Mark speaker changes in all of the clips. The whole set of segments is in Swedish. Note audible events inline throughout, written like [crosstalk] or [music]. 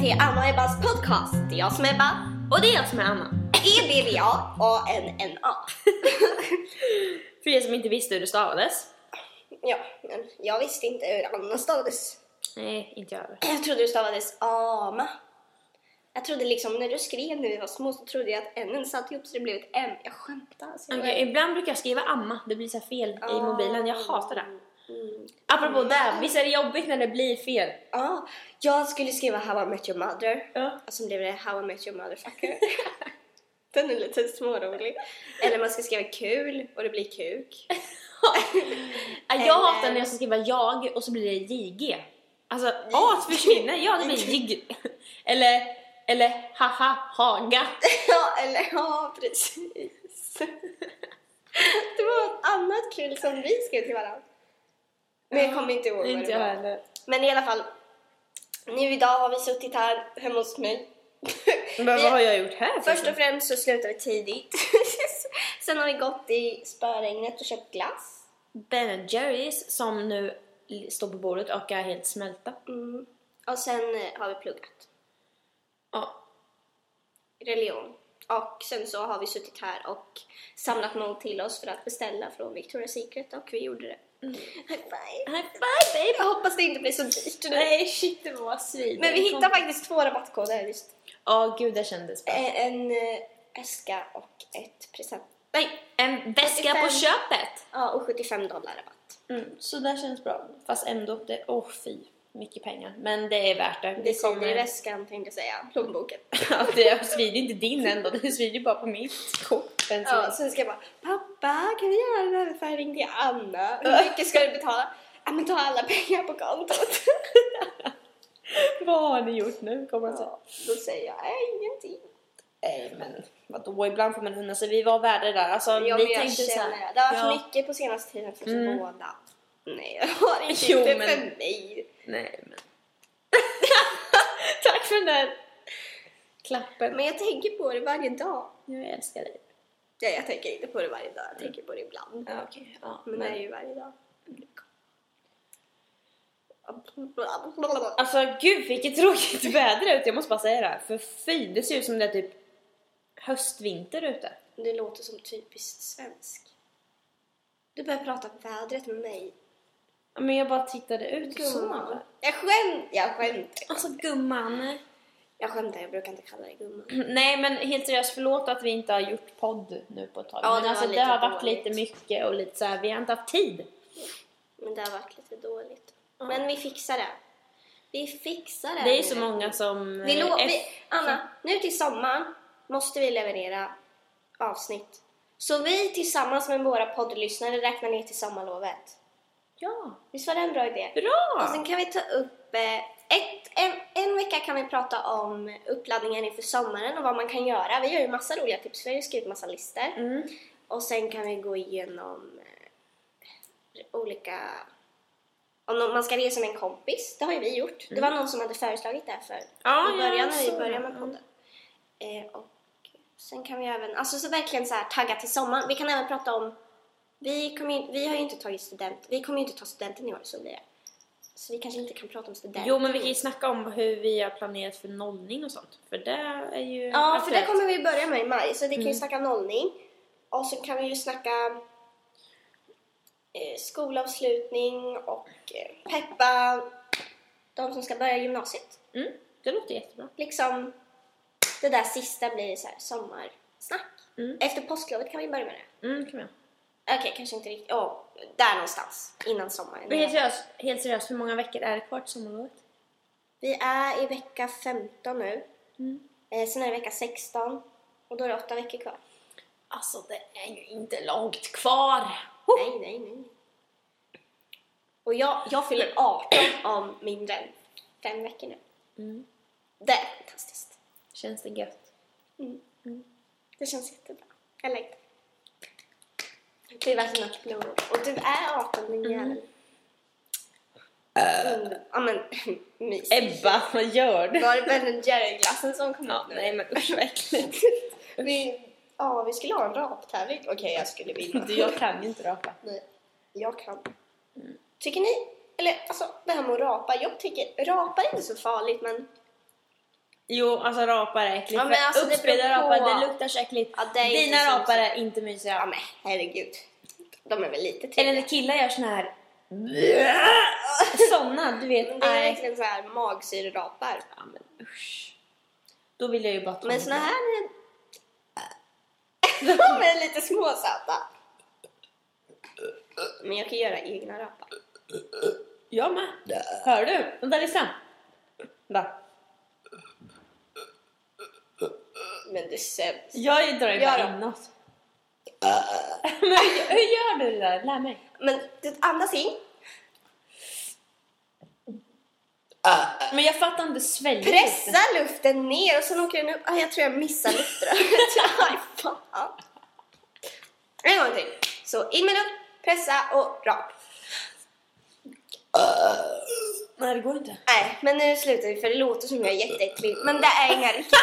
Speaker 1: till Anna och Ebbas podcast. Det är jag som är Ebba.
Speaker 2: Och det är jag som är Anna.
Speaker 1: E-B-B-A-A-N-N-A.
Speaker 2: För er som inte visste hur det stavades.
Speaker 1: [laughs] ja, men jag visste inte hur Anna stavades.
Speaker 2: Nej, inte jag heller.
Speaker 1: Jag trodde det stavades Ama. Jag trodde liksom när du skrev när vi var små så trodde jag att N satt ihop så det blev ett M. Jag skämtar alltså. Jag-
Speaker 2: Okej, ibland brukar jag skriva amma, det blir så här fel i
Speaker 1: Ah.
Speaker 2: mobilen. Jag hatar det.
Speaker 1: Mm.
Speaker 2: Apropå det, visst är det jobbigt när det blir fel?
Speaker 1: Ja, jag skulle skriva How I Met Your Mother.
Speaker 2: Ja.
Speaker 1: Och sen blev det How I Met Your Motherfucker. [laughs] Den är lite smårolig. Eller man ska skriva kul och det blir kuk.
Speaker 2: Jag hatar när jag ska skriva jag och så blir det JG. Alltså, A försvinner, ja [laughs] det blir JG. Eller, eller haha, [laughs] haga.
Speaker 1: Ja, eller ja, precis. Det var något annat kul som vi skrev till varandra. Men jag kommer inte ihåg vad
Speaker 2: Inte
Speaker 1: det
Speaker 2: jag
Speaker 1: var.
Speaker 2: heller.
Speaker 1: Men i alla fall, nu idag har vi suttit här hemma hos mig.
Speaker 2: Men
Speaker 1: Vi-
Speaker 2: vad har jag gjort här?
Speaker 1: Först och främst så slutar vi tidigt. [laughs] Sen har vi gått i spöregnet och köpt glass.
Speaker 2: Ben Jerrys som nu står på bordet och är helt smälta.
Speaker 1: Mm. Och sen eh, har vi pluggat
Speaker 2: Ja,
Speaker 1: religion. Och sen så har vi suttit här och samlat någon till oss för att beställa från Victoria's Secret och vi gjorde det. High five!
Speaker 2: High five babe!
Speaker 1: Jag hoppas det inte blir så dyrt nu.
Speaker 2: Nej [laughs] shit det var svin.
Speaker 1: Men vi hittade faktiskt två rabattkoder just.
Speaker 2: Ja gud det kändes bra.
Speaker 1: Eh, En eh, äska och ett present.
Speaker 2: Nej, en väska
Speaker 1: 75.
Speaker 2: på köpet!
Speaker 1: Ja, och 75 dollar rabatt.
Speaker 2: Mm, Så det känns bra. Fast ändå, det, åh fy. Mycket pengar. Men det är värt det. Vi
Speaker 1: Det kommer i väskan tänkte jag säga, [laughs] plånboken.
Speaker 2: [laughs] ja, det svider inte din ändå, det svider ju bara på mitt kort. bensin.
Speaker 1: Ja, sen ska jag bara Pappa, kan vi göra en överföring till Anna? Hur mycket ska du betala? Ja, men ta alla pengar på [laughs] kontot.
Speaker 2: Vad har ni gjort nu? Kommer han säga.
Speaker 1: Ja, då säger jag "Nej, ingenting.
Speaker 2: Nej men vadå, ibland får man unna sig. Vi var värda där. Alltså,
Speaker 1: Ja,
Speaker 2: vi
Speaker 1: men jag
Speaker 2: tänkte så
Speaker 1: känner det.
Speaker 2: här,
Speaker 1: Det har varit
Speaker 2: ja.
Speaker 1: mycket på senaste tiden för oss
Speaker 2: Mm.
Speaker 1: båda. Nej, jag har inte
Speaker 2: Jo,
Speaker 1: gjort det
Speaker 2: men-
Speaker 1: för mig.
Speaker 2: Nej men. [laughs] Tack för den där klappen.
Speaker 1: Men jag tänker på det varje dag.
Speaker 2: Jag älskar dig.
Speaker 1: Ja, jag tänker inte på det varje dag. Jag tänker på det ibland.
Speaker 2: Ja, okej. Ja,
Speaker 1: Men det är ju varje dag.
Speaker 2: Alltså gud vilket [laughs] tråkigt väder det är ute, jag måste bara säga det. här. För fy, det ser ut som det är typ höstvinter ute.
Speaker 1: Det låter som typiskt svensk. Du börjar prata om vädret med mig.
Speaker 2: Ja, Men jag bara tittade ut
Speaker 1: Gumman.
Speaker 2: så.
Speaker 1: Jag skämtar. Jag skämtar.
Speaker 2: Alltså gumman.
Speaker 1: Jag skämtar. Jag brukar inte kalla dig gumman.
Speaker 2: [clears throat] Nej men helt seriöst, förlåt att vi inte har gjort podd nu på ett tag.
Speaker 1: Ja, det
Speaker 2: men
Speaker 1: var
Speaker 2: alltså, det
Speaker 1: lite
Speaker 2: har varit
Speaker 1: dåligt.
Speaker 2: lite mycket och lite så här, vi har inte haft tid.
Speaker 1: Men det har varit lite dåligt. Men vi fixar det. Vi fixar det.
Speaker 2: Det är ju så
Speaker 1: nu.
Speaker 2: många som...
Speaker 1: Vi
Speaker 2: eh,
Speaker 1: lo-
Speaker 2: är-
Speaker 1: vi, Anna, nu till sommaren måste vi leverera avsnitt. Så vi tillsammans med våra poddlyssnare räknar ner till sommarlovet.
Speaker 2: Ja,
Speaker 1: Visst var det en bra idé?
Speaker 2: bra!
Speaker 1: Och sen kan vi ta upp... eh, Ett, en, en vecka kan vi prata om uppladdningen inför sommaren och vad man kan göra. Vi gör ju massa roliga tips, vi har ju skrivit massa listor.
Speaker 2: Mm.
Speaker 1: Och sen kan vi gå igenom eh, olika... Om någon- man ska resa med en kompis, det har ju vi gjort. Det var någon som hade föreslagit det här för
Speaker 2: Ja,
Speaker 1: i början
Speaker 2: ja,
Speaker 1: när vi
Speaker 2: så.
Speaker 1: började med
Speaker 2: Mm.
Speaker 1: podden. Eh, och sen kan vi även, alltså så verkligen så här tagga till sommaren. Vi kan även prata om, vi, kommer ju, vi har ju inte tagit student, vi kommer ju inte ta studenten i år, så blir det. Så vi kanske inte kan prata om studenten.
Speaker 2: Mm.
Speaker 1: Mm.
Speaker 2: Jo men vi kan ju snacka om hur vi har planerat för nollning och sånt. För det Mm. är ju...
Speaker 1: Ja, för det
Speaker 2: aktuellt.
Speaker 1: kommer vi börja med i maj, så vi kan ju snacka nollning. Och så kan vi ju snacka eh, skolavslutning och eh, peppa de som ska börja gymnasiet.
Speaker 2: Mm, det låter jättebra.
Speaker 1: Liksom, det där sista blir så här sommarsnack.
Speaker 2: Mm.
Speaker 1: Efter påsklovet kan vi börja med det.
Speaker 2: Mm, kan vi göra.
Speaker 1: Okej, kanske inte riktigt. Ja, där någonstans. Innan sommaren.
Speaker 2: Men helt seriöst, helt seriöst, hur många veckor är det kvar till sommarlovet?
Speaker 1: Vi är i vecka 15 nu. Eh, sen är det vecka 16. Och då är det åtta veckor kvar.
Speaker 2: Alltså det är ju inte långt kvar!
Speaker 1: Nej, nej, nej. Och jag, jag fyller 18 om mindre än fem veckor nu.
Speaker 2: Mm.
Speaker 1: Det är fantastiskt.
Speaker 2: Känns det gött?
Speaker 1: Det känns jättebra. Jag längtar. Det är verkligen att blod. Och du är 18 din jävel. Mm. Ja men, [clears throat] mys.
Speaker 2: Eh, Ebba, vad gör du?
Speaker 1: Var det Ben Jerry-glassen som kom
Speaker 2: Ja,
Speaker 1: upp nu?
Speaker 2: nej men usch vad äckligt.
Speaker 1: Vi, [laughs] ja, vi skulle ha en raptävling. Okej, Alltså, jag skulle vinna.
Speaker 2: Du, jag kan ju inte rapa.
Speaker 1: Nej, jag kan. Tycker ni, eller alltså det här med att rapa, jag tycker rapa är inte så farligt men
Speaker 2: Jo, alltså rapar är äckligt.
Speaker 1: Ja, men
Speaker 2: för
Speaker 1: alltså, det beror
Speaker 2: Uppspridda
Speaker 1: på.
Speaker 2: rapar, det luktar så äckligt.
Speaker 1: Ja, det är inte
Speaker 2: Dina
Speaker 1: så
Speaker 2: rapar är inte mysiga.
Speaker 1: Ja men herregud. De är väl lite
Speaker 2: Eller
Speaker 1: trevliga.
Speaker 2: när killar gör såna [laughs] här... Såna, du vet.
Speaker 1: Det är
Speaker 2: Nej.
Speaker 1: verkligen såhär magsyrerapar.
Speaker 2: Ja, men usch. Då vill jag ju bara ta
Speaker 1: Men
Speaker 2: mig.
Speaker 1: såna här [laughs] är...
Speaker 2: [laughs]
Speaker 1: De är lite småsöta. Men jag kan göra egna rapar.
Speaker 2: Jag med. Hör du? Vänta, lyssna. Vänta.
Speaker 1: Men du är sämst.
Speaker 2: Jag drar ju
Speaker 1: Gör
Speaker 2: bara
Speaker 1: då.
Speaker 2: inåt. [laughs] Men hur hur gör du det där? Lär mig.
Speaker 1: Men du andas in.
Speaker 2: Men jag fattar inte sväljer
Speaker 1: Pressa luften ner och sen åker den upp. Ah, jag tror jag missar
Speaker 2: [laughs]
Speaker 1: luftröret. Aj, fan. En gång till. Så in med luft, pressa och rap.
Speaker 2: Nej, det går inte.
Speaker 1: Nej, men nu slutar vi för det låter som jag är jätteäcklig. Men det är inga
Speaker 2: [laughs]
Speaker 1: riktiga...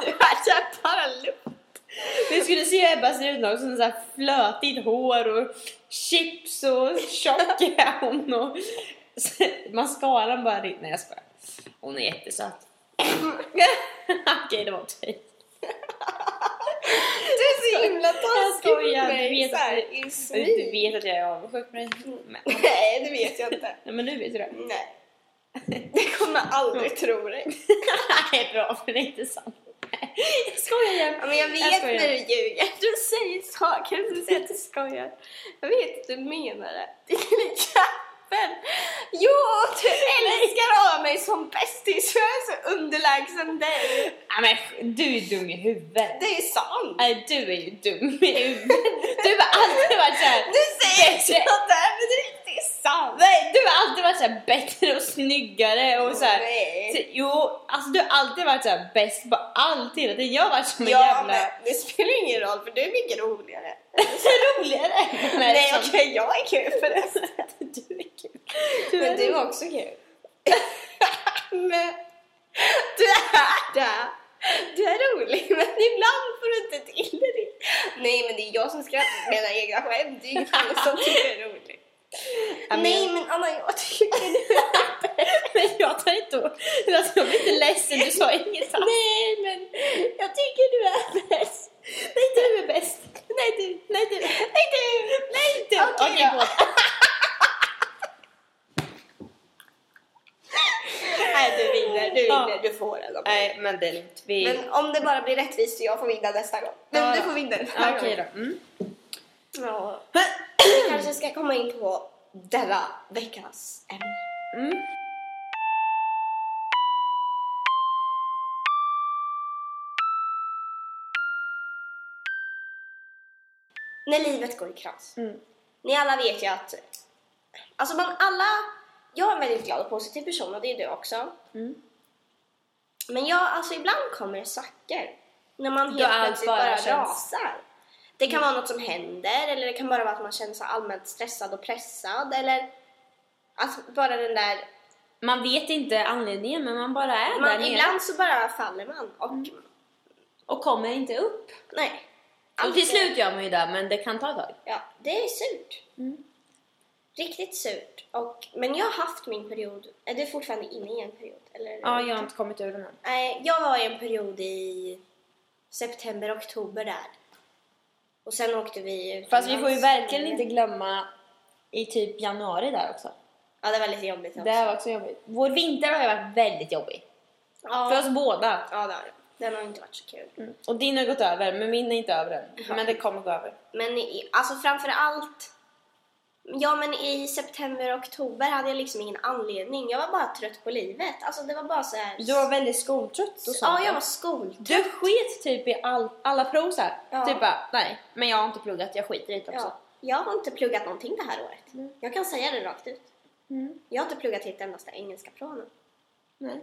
Speaker 1: Du [laughs] är bara luft.
Speaker 2: Vi skulle se hur Ebba ser ut nu också. Med så här flötigt hår och chips och tjock är hon. Och [laughs] mascaran bara rinner. Nej, jag skojar. Hon är jättesöt. [laughs] Okej, det var okej.
Speaker 1: Du är så himla
Speaker 2: Jag
Speaker 1: taskig
Speaker 2: skojar.
Speaker 1: mot
Speaker 2: Du
Speaker 1: mig.
Speaker 2: vet,
Speaker 1: Så här, i
Speaker 2: att- du
Speaker 1: smyg.
Speaker 2: vet att jag är avundsjuk på dig. Men,
Speaker 1: [laughs] Nej, det vet jag inte.
Speaker 2: nej, men nu vet du det. [laughs]
Speaker 1: Nej. Det kommer jag aldrig tro dig.
Speaker 2: Nej, bra, för det är inte sant. Nej, Jag skojar igen.
Speaker 1: Ja, men jag vet
Speaker 2: Jag skojar.
Speaker 1: när du ljuger. Du säger saker som du säger att du skojar. Jag vet att du menar det. Det är kappen. Jo, du älskar att ha mig som bästis. Jag är så underlägsen dig.
Speaker 2: Nej, men du är dum i huvudet.
Speaker 1: Det är sant.
Speaker 2: Nej, du är ju dum i huvudet. Du har alltid varit såhär...
Speaker 1: Du säger [laughs]
Speaker 2: bättre.
Speaker 1: sånt där, men det är inte sant.
Speaker 2: Nej, du har alltid varit såhär bättre och snyggare och såhär...
Speaker 1: Nej.
Speaker 2: Så- Jo, alltså du har alltid varit såhär bäst på allt hela tiden. Jag har varit som en
Speaker 1: Ja,
Speaker 2: jävla...
Speaker 1: men det spelar ingen roll för du är mycket roligare.
Speaker 2: Så roligare!
Speaker 1: [laughs] Nej,
Speaker 2: som-
Speaker 1: okej, jag är kul förresten.
Speaker 2: [laughs] Du är kul.
Speaker 1: Men du är också kul. [laughs] men du är det. Du är rolig, men ibland får du inte till det riktigt. Nej, men det är jag som skrattar åt mina egna skämt. Det är ingen annan som tycker det är roligt.
Speaker 2: Ja, men-
Speaker 1: Nej, men Anna, jag tycker du
Speaker 2: Men jag tar inte åt... Alltså, jag blir inte ledsen, du sa inget alls.
Speaker 1: Nej, men jag tycker du är bäst.
Speaker 2: Nej, du är bäst. Nej, du. Nej, du.
Speaker 1: Nej, du! Nej, du!
Speaker 2: Okej,
Speaker 1: Okej, då.
Speaker 2: gå.
Speaker 1: Nej, du vinner. Du
Speaker 2: Ja.
Speaker 1: vinner. Du får den.
Speaker 2: Nej, men det är lugnt. Vi...
Speaker 1: Men om det bara blir rättvist så jag får vinna nästa gång. Men
Speaker 2: Ja.
Speaker 1: du får vinna nästa
Speaker 2: Ja,
Speaker 1: gång.
Speaker 2: Okej då. Mm.
Speaker 1: Ja. Vi kanske ska komma in på denna veckans ämne.
Speaker 2: Mm.
Speaker 1: När livet går i kras.
Speaker 2: Mm.
Speaker 1: Ni alla vet ju att... Alltså man alla... Jag är en väldigt glad och positiv person och det är du också.
Speaker 2: Mm.
Speaker 1: Men jag, alltså ibland kommer det svackor. När man helt
Speaker 2: Då allt
Speaker 1: plötsligt
Speaker 2: bara
Speaker 1: bara,
Speaker 2: känns- Mm.
Speaker 1: rasar. Det kan vara något som händer eller det kan bara vara att man känner sig allmänt stressad och pressad eller att bara den där
Speaker 2: Man vet inte anledningen, men man bara är där
Speaker 1: man,
Speaker 2: nere
Speaker 1: ibland så bara faller man och
Speaker 2: och kommer inte upp.
Speaker 1: nej.
Speaker 2: Och till slut gör man ju det, men det kan ta ett tag.
Speaker 1: Ja, det är surt.
Speaker 2: Mm.
Speaker 1: Riktigt surt. Och, men jag har haft min period, är du fortfarande inne i en period? Eller?
Speaker 2: Ja, jag har inte kommit ur den än.
Speaker 1: Nej, jag var i en period i september, oktober där. Och sen åkte vi
Speaker 2: Fast vi får ju
Speaker 1: utomlands.
Speaker 2: verkligen inte glömma i typ januari där också.
Speaker 1: Ja, det var lite jobbigt också.
Speaker 2: Det här var också jobbigt. Vår vinter har ju varit väldigt jobbig.
Speaker 1: Ja,
Speaker 2: För oss båda.
Speaker 1: ja det har det. Den har inte varit så kul.
Speaker 2: Och din har gått över, men min är inte över än.
Speaker 1: Ja.
Speaker 2: Men det kommer gå över.
Speaker 1: Men i, alltså framför allt... Ja, men i september, oktober hade jag liksom ingen anledning. Jag var bara trött på livet. Alltså det var bara så här...
Speaker 2: Du var väldigt skoltrött och sånt.
Speaker 1: Ja, jag var skol.
Speaker 2: Du sket typ i all, alla prov så här.
Speaker 1: Ja.
Speaker 2: Typ bara, nej, men jag har inte pluggat, jag skiter i det också.
Speaker 1: Ja, jag har inte pluggat någonting det här året.
Speaker 2: Mm.
Speaker 1: Jag kan säga det rakt ut.
Speaker 2: Mm.
Speaker 1: Jag har inte pluggat ett endaste engelska prov nu.
Speaker 2: Nej.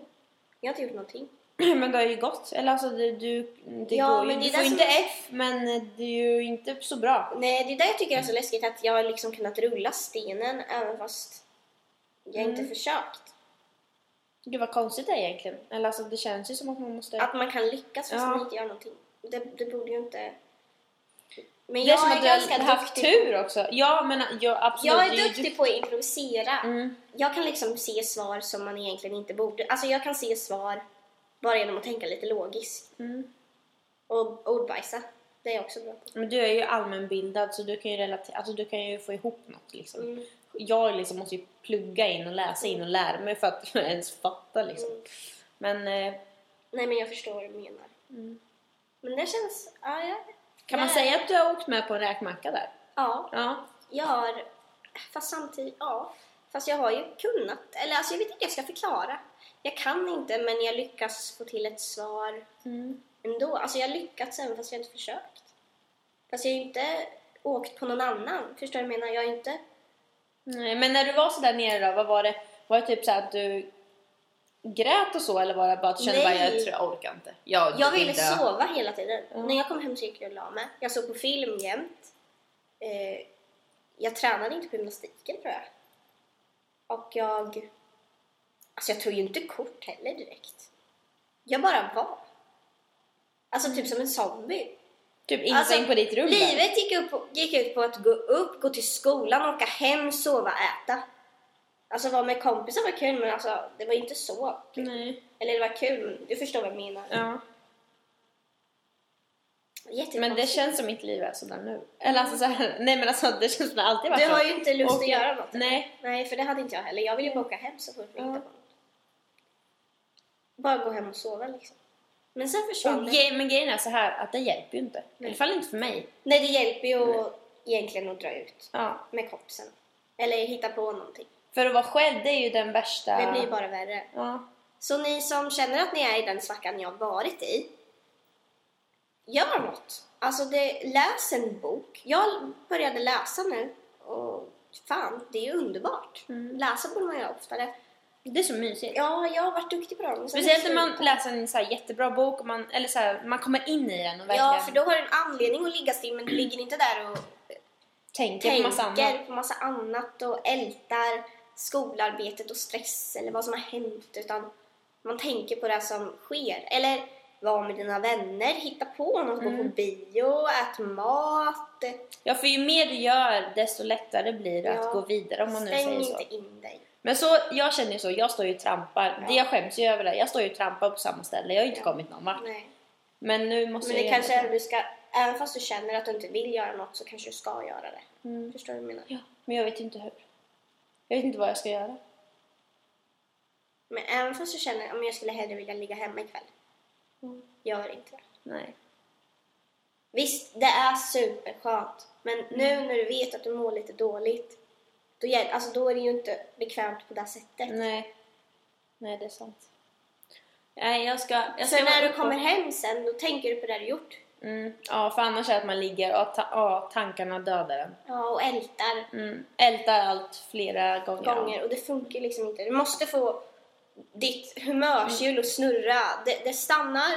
Speaker 1: Jag har inte gjort någonting.
Speaker 2: [clears throat] Men det har ju gått. Eller alltså du, du, det
Speaker 1: Ja,
Speaker 2: går ju.
Speaker 1: men
Speaker 2: Du
Speaker 1: det är
Speaker 2: får
Speaker 1: det som
Speaker 2: inte
Speaker 1: är-
Speaker 2: F, men det är ju inte så bra.
Speaker 1: Nej, det är där jag tycker det är så läskigt att jag har liksom kunnat rulla stenen även fast jag inte
Speaker 2: Mm.
Speaker 1: försökt.
Speaker 2: Gud vad konstigt det är egentligen. Eller alltså det känns ju som att man måste...
Speaker 1: Att man kan lyckas fast
Speaker 2: Ja.
Speaker 1: man inte gör någonting. Det, det borde ju inte... Men
Speaker 2: det är som
Speaker 1: jag är,
Speaker 2: att
Speaker 1: ganska
Speaker 2: du har haft
Speaker 1: duktig.
Speaker 2: tur också. Ja, men ja, absolut.
Speaker 1: Jag är
Speaker 2: det ju typ-
Speaker 1: duktig på att improvisera.
Speaker 2: Mm.
Speaker 1: Jag kan liksom se svar som man egentligen inte borde... Alltså jag kan se svar Bara genom att tänka lite logiskt.
Speaker 2: Mm.
Speaker 1: Och ordbajsa. Det är jag också bra på.
Speaker 2: Men du är ju allmänbildad så du kan ju, relatera, alltså, du kan ju få ihop något liksom.
Speaker 1: Mm.
Speaker 2: Jag liksom måste ju plugga in och läsa in och lära mig för att [laughs] ens fatta liksom.
Speaker 1: Mm.
Speaker 2: Men eh,
Speaker 1: Nej men jag förstår vad du menar.
Speaker 2: Mm.
Speaker 1: Men det känns... Ja, jag,
Speaker 2: kan man
Speaker 1: jag-
Speaker 2: säga att du har åkt med på en räkmacka där?
Speaker 1: Ja,
Speaker 2: Ja.
Speaker 1: jag har... Fast samtidigt, ja. Fast jag har ju kunnat. Eller alltså jag vet inte, jag ska förklara. Jag kan inte men jag lyckas få till ett svar
Speaker 2: Mm.
Speaker 1: ändå. Alltså jag har lyckats även fast jag inte försökt. Fast jag har ju inte åkt på någon annan. Förstår du vad jag menar? Jag har inte...
Speaker 2: Nej, men när du var så där nere då, vad var det? Var det typ så här att du grät och så eller var det bara att du kände
Speaker 1: Nej.
Speaker 2: bara jag tror jag orkar inte? Jag,
Speaker 1: Jag ville
Speaker 2: vill dö.
Speaker 1: sova hela tiden.
Speaker 2: Ja.
Speaker 1: När jag kom hem så gick jag och la mig. Jag såg på film jämt. Eh, jag tränade inte på gymnastiken tror jag. Och jag... Alltså jag tog ju inte kort heller direkt. Jag bara var. Alltså typ som en zombie.
Speaker 2: Typ instängd
Speaker 1: Alltså,
Speaker 2: på ditt rum där.
Speaker 1: Livet gick, upp, gick ut på att gå upp, gå till skolan, åka hem, sova, äta. Alltså vara med kompisar var kul men alltså det var ju inte så kul.
Speaker 2: Nej.
Speaker 1: Eller det var kul men du förstår vad jag menar.
Speaker 2: Ja. Men det
Speaker 1: Jättekonstigt.
Speaker 2: känns som mitt liv är sådär nu. Eller alltså så här, [laughs] nej men alltså det känns som det alltid varit
Speaker 1: Du
Speaker 2: så.
Speaker 1: har ju inte lust
Speaker 2: Och-
Speaker 1: att göra något.
Speaker 2: Nej.
Speaker 1: Nej, för det hade inte jag heller. Jag ville bara åka hem så fort vi
Speaker 2: Ja.
Speaker 1: hittade på något. Bara gå hem och sova liksom. Men sen försvann
Speaker 2: Och,
Speaker 1: det.
Speaker 2: ge- men grejen är så här att det hjälper ju inte. I
Speaker 1: Nej.
Speaker 2: alla fall inte för mig.
Speaker 1: Nej, det hjälper ju att egentligen att dra ut
Speaker 2: Ja.
Speaker 1: med kompisen. Eller hitta på någonting.
Speaker 2: För att vara själv det är ju den värsta...
Speaker 1: Det blir bara värre.
Speaker 2: Ja.
Speaker 1: Så ni som känner att ni är i den svackan jag har varit i, gör något. Alltså, det, läs en bok. Jag började läsa nu och fan, det är ju underbart.
Speaker 2: Mm.
Speaker 1: Läsa borde man göra oftare.
Speaker 2: Det är så mysigt.
Speaker 1: Ja, jag har varit duktig på dem. Sen
Speaker 2: Speciellt
Speaker 1: är
Speaker 2: när
Speaker 1: det
Speaker 2: man
Speaker 1: slut.
Speaker 2: läser en så här jättebra bok och man, eller så här, man kommer in i den och verkligen
Speaker 1: Ja, för då har du en anledning att ligga still men du ligger inte där och
Speaker 2: tänker på massa annat.
Speaker 1: tänker på massa annat och ältar skolarbetet och stress eller vad som har hänt utan man tänker på det som sker. Eller var med dina vänner, hitta på något, gå
Speaker 2: Mm.
Speaker 1: på bio, ät mat.
Speaker 2: Ja, för ju mer du gör desto lättare blir det
Speaker 1: Ja.
Speaker 2: att gå vidare om man nu
Speaker 1: Stäng
Speaker 2: säger så.
Speaker 1: inte in dig.
Speaker 2: Men så, jag känner ju så, jag står ju och trampar.
Speaker 1: Ja.
Speaker 2: Det, jag skäms ju över det. Jag står ju och trampar på samma ställe. Jag har ju inte
Speaker 1: Ja.
Speaker 2: kommit någon vart.
Speaker 1: Nej.
Speaker 2: Men nu måste
Speaker 1: Men det
Speaker 2: jag
Speaker 1: kanske
Speaker 2: göra
Speaker 1: är du ska, även fast du känner att du inte vill göra något så kanske du ska göra det.
Speaker 2: Mm.
Speaker 1: Förstår du vad jag menar?
Speaker 2: Ja, men jag vet inte hur. Jag vet inte vad jag ska göra.
Speaker 1: Men även fast du känner att jag skulle hellre vilja ligga hemma ikväll.
Speaker 2: Mm.
Speaker 1: Gör inte det.
Speaker 2: Nej.
Speaker 1: Visst, det är superskönt. Men nu när du vet att du mår lite dåligt, då, hjäl- alltså, då är det ju inte bekvämt på det här sättet.
Speaker 2: Nej. Nej, det är sant. Nej, jag ska... Jag ska
Speaker 1: Sen
Speaker 2: vara
Speaker 1: när du
Speaker 2: uppe-
Speaker 1: kommer hem sen, då tänker du på det du gjort.
Speaker 2: Mm. Ja, för annars är det att man ligger och ta- ja, tankarna dödar en.
Speaker 1: Ja, och ältar
Speaker 2: Mm. Ältar allt flera gånger.
Speaker 1: gånger och det funkar liksom inte. Du måste få ditt
Speaker 2: Mm.
Speaker 1: humörshjul att snurra. Det, det stannar...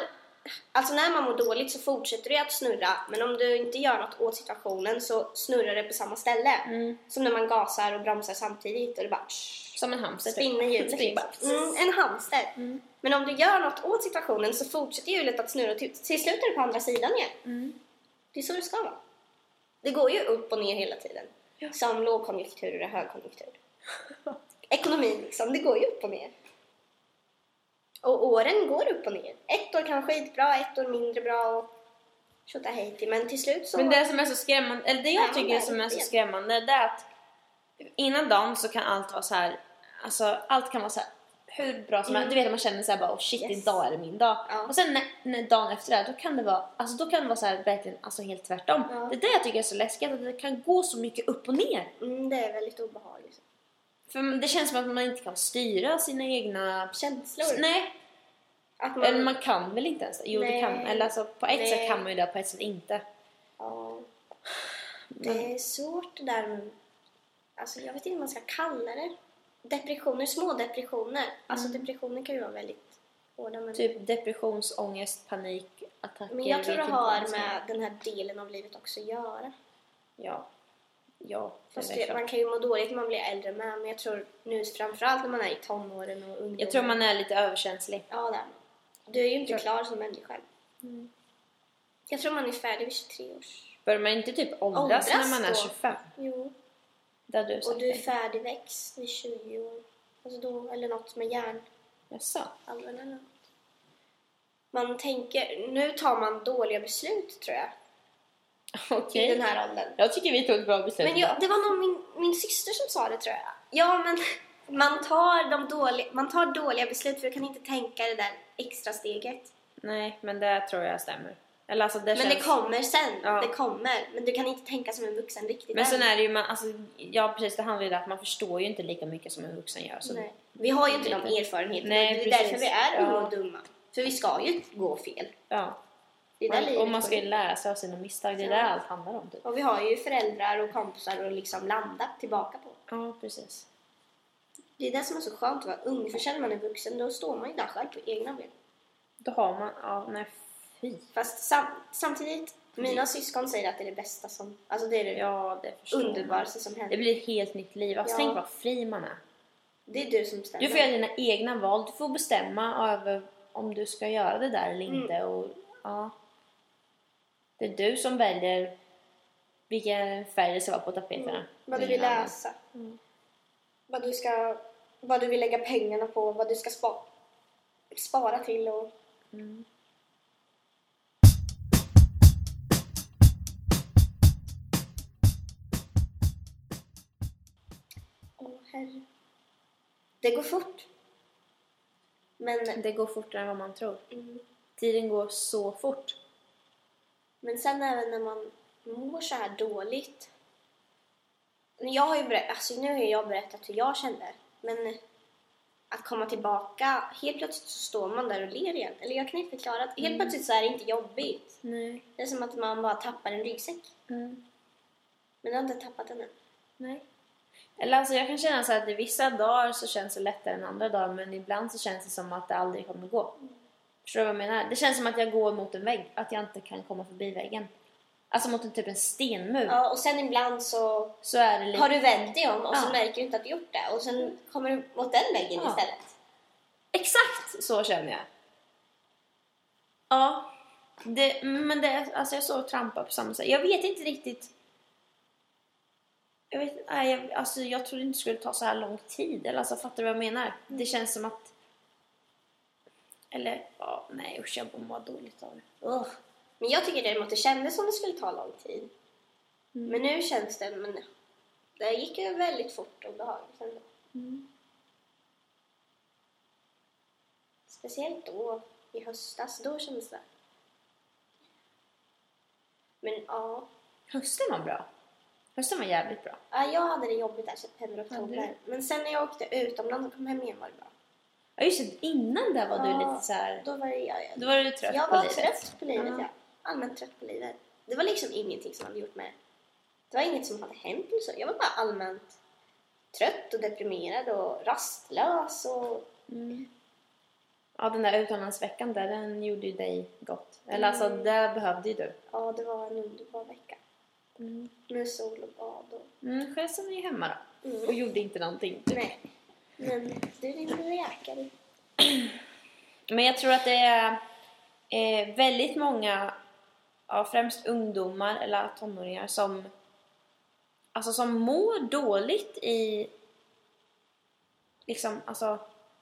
Speaker 1: Alltså när man mår dåligt så fortsätter det att snurra. Men om du inte gör något åt situationen så snurrar det på samma ställe.
Speaker 2: Mm.
Speaker 1: Som när man gasar och bromsar samtidigt och det bara...
Speaker 2: Som en hamster. typ.
Speaker 1: spinner
Speaker 2: [laughs]
Speaker 1: hjulet.
Speaker 2: Spinn bara.
Speaker 1: liksom. Mm, en hamster.
Speaker 2: Mm.
Speaker 1: Men om du gör något åt situationen så fortsätter hjulet att snurra och till, till slut är du på andra sidan igen.
Speaker 2: Mm.
Speaker 1: Det är så det ska vara. Det går ju upp och ner hela tiden.
Speaker 2: Ja.
Speaker 1: Som lågkonjunktur och
Speaker 2: [laughs]
Speaker 1: högkonjunktur. Ekonomin liksom, det går ju upp och ner. Och åren går upp och ner. Ett år kan skitbra, ett år mindre bra och tjotahejti. Men till slut så...
Speaker 2: Men det som är så skrämmande, eller det
Speaker 1: Ja,
Speaker 2: jag tycker
Speaker 1: det är
Speaker 2: som är så
Speaker 1: det.
Speaker 2: skrämmande, det är att innan dagen så kan allt vara så här, alltså allt kan vara så här hur bra som
Speaker 1: Mm.
Speaker 2: helst. Du vet man känner så här bara oh shit
Speaker 1: Yes.
Speaker 2: idag är det min dag.
Speaker 1: Ja.
Speaker 2: Och sen när, när dagen efter det här, då kan det vara, alltså då kan det vara så här verkligen alltså helt tvärtom.
Speaker 1: Ja.
Speaker 2: Det är det jag tycker är så läskigt, att det kan gå så mycket upp och ner.
Speaker 1: Mm, det är väldigt obehagligt.
Speaker 2: För det känns som att man inte kan styra sina egna
Speaker 1: Känslor.
Speaker 2: Nej,
Speaker 1: Att
Speaker 2: eller man kan väl inte ens det? Jo det
Speaker 1: Nej.
Speaker 2: kan Eller alltså på ett
Speaker 1: Nej.
Speaker 2: sätt kan man ju det, på ett sätt inte.
Speaker 1: Ja. Det är svårt det där med... Alltså jag vet inte vad man ska kalla det. Depressioner, små depressioner. Alltså depressioner kan ju vara väldigt hårda. Men,
Speaker 2: Mm. Typ depressionsångest, panikattacker.
Speaker 1: men jag tror det
Speaker 2: vet inte
Speaker 1: har
Speaker 2: vad man ska-
Speaker 1: med den här delen av livet också att göra.
Speaker 2: Ja. Ja, det
Speaker 1: Fast
Speaker 2: är
Speaker 1: det,
Speaker 2: klart.
Speaker 1: man kan ju må dåligt när man blir äldre med. Men jag tror nu framförallt när man är i tonåren och ungdomen.
Speaker 2: Jag tror man är lite överkänslig.
Speaker 1: Ja, där. Du är ju inte
Speaker 2: Tror-
Speaker 1: klar som människa.
Speaker 2: Mm.
Speaker 1: Jag tror man är färdig vid 23 års...
Speaker 2: Börjar man inte typ åldras,
Speaker 1: Åldras
Speaker 2: när man är
Speaker 1: då?
Speaker 2: 25?
Speaker 1: Jo.
Speaker 2: Det hade du
Speaker 1: Och
Speaker 2: sagt.
Speaker 1: du är färdigväxt vid 20 år. Alltså då, eller något med hjärn.
Speaker 2: Jaså?
Speaker 1: Allmän eller något. man tänker, nu tar man dåliga beslut tror jag,
Speaker 2: Okej.
Speaker 1: i den här åldern.
Speaker 2: Jag tycker vi tog ett bra beslut
Speaker 1: Men jag,
Speaker 2: idag.
Speaker 1: det var nog min, min syster som sa det tror jag. Ja, men [laughs] man tar, de dåliga, man tar dåliga beslut för du kan inte tänka det där extra steget.
Speaker 2: Nej, men det tror jag stämmer. Eller alltså det
Speaker 1: men
Speaker 2: känns...
Speaker 1: det kommer sen,
Speaker 2: Ja.
Speaker 1: det kommer. Men du kan inte tänka som en vuxen riktigt
Speaker 2: Men
Speaker 1: än.
Speaker 2: sen är det ju, man, alltså, ja precis det handlar ju om att man förstår ju inte lika mycket som en vuxen gör. Så
Speaker 1: Nej. Vi har ju inte de erfarenheterna.
Speaker 2: Nej,
Speaker 1: det är därför
Speaker 2: precis.
Speaker 1: vi är unga
Speaker 2: Ja.
Speaker 1: och dumma. För vi ska ju gå fel.
Speaker 2: ja.
Speaker 1: Det är där
Speaker 2: Man,
Speaker 1: livet
Speaker 2: och man ska ju
Speaker 1: går.
Speaker 2: lära sig av sina misstag, det är
Speaker 1: Ja.
Speaker 2: det allt handlar om. Typ.
Speaker 1: Och vi har ju föräldrar och kompisar att liksom landa tillbaka på.
Speaker 2: Ja, precis.
Speaker 1: Det är det som är så skönt att vara ung. För sen när man är vuxen, då står man ju där själv på egna ben.
Speaker 2: Då har man, ja nej fy.
Speaker 1: Fast sam samtidigt, mina syskon säger att det är det bästa som... Alltså det är det
Speaker 2: Ja, det förstår man.
Speaker 1: underbaraste som
Speaker 2: Det
Speaker 1: händer.
Speaker 2: blir ett helt nytt liv. Alltså,
Speaker 1: Ja.
Speaker 2: Tänk vad fri man är.
Speaker 1: Det är du som
Speaker 2: Du
Speaker 1: bestämmer.
Speaker 2: får göra dina egna val. Du får bestämma över om du ska göra det där eller inte. Och, ja. Det är du som väljer vilken färg det ska vara på tapeterna.
Speaker 1: Mm. Vad du
Speaker 2: Ingen
Speaker 1: vill
Speaker 2: annan.
Speaker 1: läsa. Vad du ska... Vad du vill lägga pengarna på, vad du ska spa spara till och... Åh herre. Det går fort. Men,
Speaker 2: Mm. Det går fortare än vad man tror.
Speaker 1: mm,
Speaker 2: Tiden går så fort.
Speaker 1: men sen även när man mår så här dåligt. Men Jag har ju berättat, alltså nu har ju jag berättat hur jag kände. Men att komma tillbaka, helt plötsligt så står man där och ler igen. Eller jag kan inte förklara. att Helt
Speaker 2: Mm.
Speaker 1: plötsligt så är det inte jobbigt.
Speaker 2: Nej.
Speaker 1: Det är som att man bara tappar en ryggsäck.
Speaker 2: Mm.
Speaker 1: Men jag har inte tappat den än.
Speaker 2: Nej. Eller alltså jag kan känna så här att i vissa dagar så känns det lättare än andra dagar men ibland så känns det som att det aldrig kommer gå. Förstår du vad jag menar? Det känns som att jag går mot en vägg, att jag inte kan komma förbi väggen. Alltså mot en, typ en stenmur.
Speaker 1: Ja, och sen ibland så
Speaker 2: Så är det lite...
Speaker 1: har du vänt dig om och så
Speaker 2: Ja.
Speaker 1: märker du inte att du gjort det. Och sen kommer du mot den väggen
Speaker 2: Ja.
Speaker 1: istället.
Speaker 2: Exakt så känner jag. Ja. Det, men det, alltså jag står och trampar på samma sätt. Jag vet inte riktigt... Jag, vet, nej, jag, alltså jag trodde inte det skulle ta så här lång tid. Eller alltså, fattar du vad jag menar?
Speaker 1: Mm.
Speaker 2: Det känns som att... Eller, ja, nej usch jag mår dåligt av det. Ugh.
Speaker 1: Men jag tycker däremot det kändes som det skulle ta lång tid.
Speaker 2: Mm.
Speaker 1: Men nu känns det, men det gick ju väldigt fort och behagligt ändå. Mm. Speciellt då i höstas, då kändes det. Men ja,
Speaker 2: Hösten var bra. Hösten var jävligt bra.
Speaker 1: ja, jag hade det jobbigt där september och
Speaker 2: Ja, du-
Speaker 1: oktober. Men sen när jag åkte utomlands och kom hem igen var det bra.
Speaker 2: Ja just det, innan det var du
Speaker 1: Ja.
Speaker 2: lite så här.
Speaker 1: Då var det jag, jag
Speaker 2: Då var du trött
Speaker 1: jag
Speaker 2: på
Speaker 1: var
Speaker 2: livet.
Speaker 1: trött på livet,
Speaker 2: Ja.
Speaker 1: ja. Allmänt trött på livet. Det var liksom ingenting som hade gjort mig... Det var inget som hade hänt eller så. Jag var bara allmänt trött och deprimerad och rastlös och...
Speaker 2: Mm. Ja, den där utomlandsveckan där, den gjorde ju dig gott. Eller alltså,
Speaker 1: Mm.
Speaker 2: det behövde ju du.
Speaker 1: Ja, det var en underbar vecka.
Speaker 2: Mm.
Speaker 1: Med sol och bad och...
Speaker 2: själv Mm, som är ju hemma då. Och
Speaker 1: Mm.
Speaker 2: gjorde inte någonting.
Speaker 1: Nej. Men du är din lilla jäkel.
Speaker 2: Men jag tror att det är eh, väldigt många, ja, främst ungdomar eller tonåringar, som, alltså, som mår dåligt i... Liksom, alltså...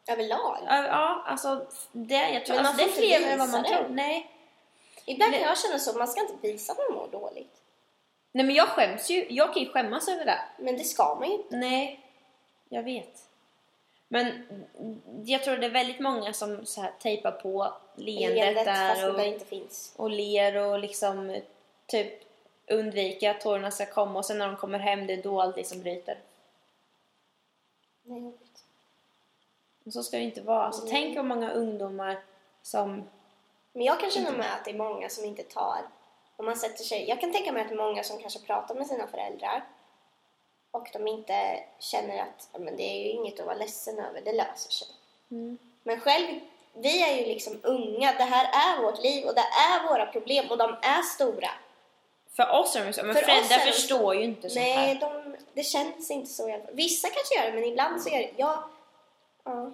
Speaker 1: Överlag.
Speaker 2: Ja, ja, alltså det, jag tror,
Speaker 1: Men man
Speaker 2: alltså, det är
Speaker 1: får inte
Speaker 2: fler än vad man
Speaker 1: visa det.
Speaker 2: tror. Nej.
Speaker 1: Ibland kan
Speaker 2: Nej.
Speaker 1: jag känna så, man ska inte visa att man mår dåligt.
Speaker 2: Nej, men jag skäms ju. Jag kan ju skämmas över det.
Speaker 1: Men det ska man ju inte.
Speaker 2: Nej, jag vet. Men jag tror det är väldigt många som så här tejpar på leendet,
Speaker 1: Leendet fast
Speaker 2: där
Speaker 1: det där
Speaker 2: och,
Speaker 1: inte finns.
Speaker 2: och ler och liksom typ undvika att tårarna ska komma och sen när de kommer hem det är då allting som bryter.
Speaker 1: Nej, jag vet.
Speaker 2: Och så ska det inte vara. Alltså,
Speaker 1: Mm.
Speaker 2: Tänk hur många ungdomar som...
Speaker 1: Men jag kan känna med att det är många som inte tar... Om man sätter sig, jag kan tänka mig att det är många som kanske pratar med sina föräldrar och de inte känner att "Ja, men det är ju inget att vara ledsen över, det löser sig. Mm. Men själv, vi är ju liksom unga, det här är vårt liv och det är våra problem och de är stora.
Speaker 2: För oss är det så, men
Speaker 1: För oss
Speaker 2: föräldrar
Speaker 1: är det så.
Speaker 2: förstår ju inte sånt
Speaker 1: Nej,
Speaker 2: här.
Speaker 1: de, det känns inte så. i alla fall. Vissa kanske gör det, men ibland så gör det. Jag, ja.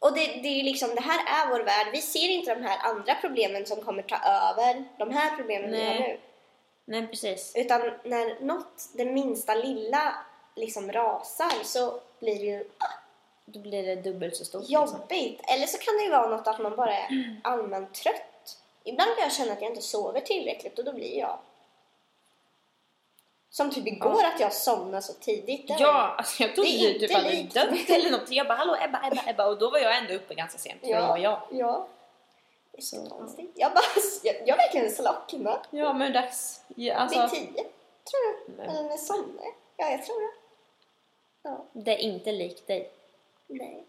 Speaker 1: Och det, det är ju liksom, det här är vår värld. Vi ser inte de här andra problemen som kommer ta över de här problemen vi har
Speaker 2: Nej.
Speaker 1: nu.
Speaker 2: Nej, precis.
Speaker 1: Utan när något, det minsta lilla, liksom rasar så blir det ju...
Speaker 2: Då blir det dubbelt så stort. liksom.
Speaker 1: Jobbigt! Eller så kan det ju vara något att man bara
Speaker 2: [clears throat]
Speaker 1: är allmänt trött. Ibland kan jag känna att jag inte sover tillräckligt och då blir jag... Som typ igår att jag somnade så tidigt. Det var
Speaker 2: Ja, alltså jag trodde
Speaker 1: Det är
Speaker 2: ju typ
Speaker 1: inte
Speaker 2: hade
Speaker 1: likt.
Speaker 2: dött eller något. Jag bara hallå Ebba, Ebba, Ebba och då var jag ändå uppe ganska sent.
Speaker 1: Ja.
Speaker 2: Ja. Jag, jag.
Speaker 1: Ja.
Speaker 2: Så-
Speaker 1: Konstigt. Jag bara, jag, jag verkligen slocknade.
Speaker 2: ja men dags. Ja,
Speaker 1: Vid
Speaker 2: alltså,
Speaker 1: tio, tror jag.
Speaker 2: Nej.
Speaker 1: Eller när jag somnade. Ja, jag tror det. Ja,
Speaker 2: det är inte likt dig.
Speaker 1: nej.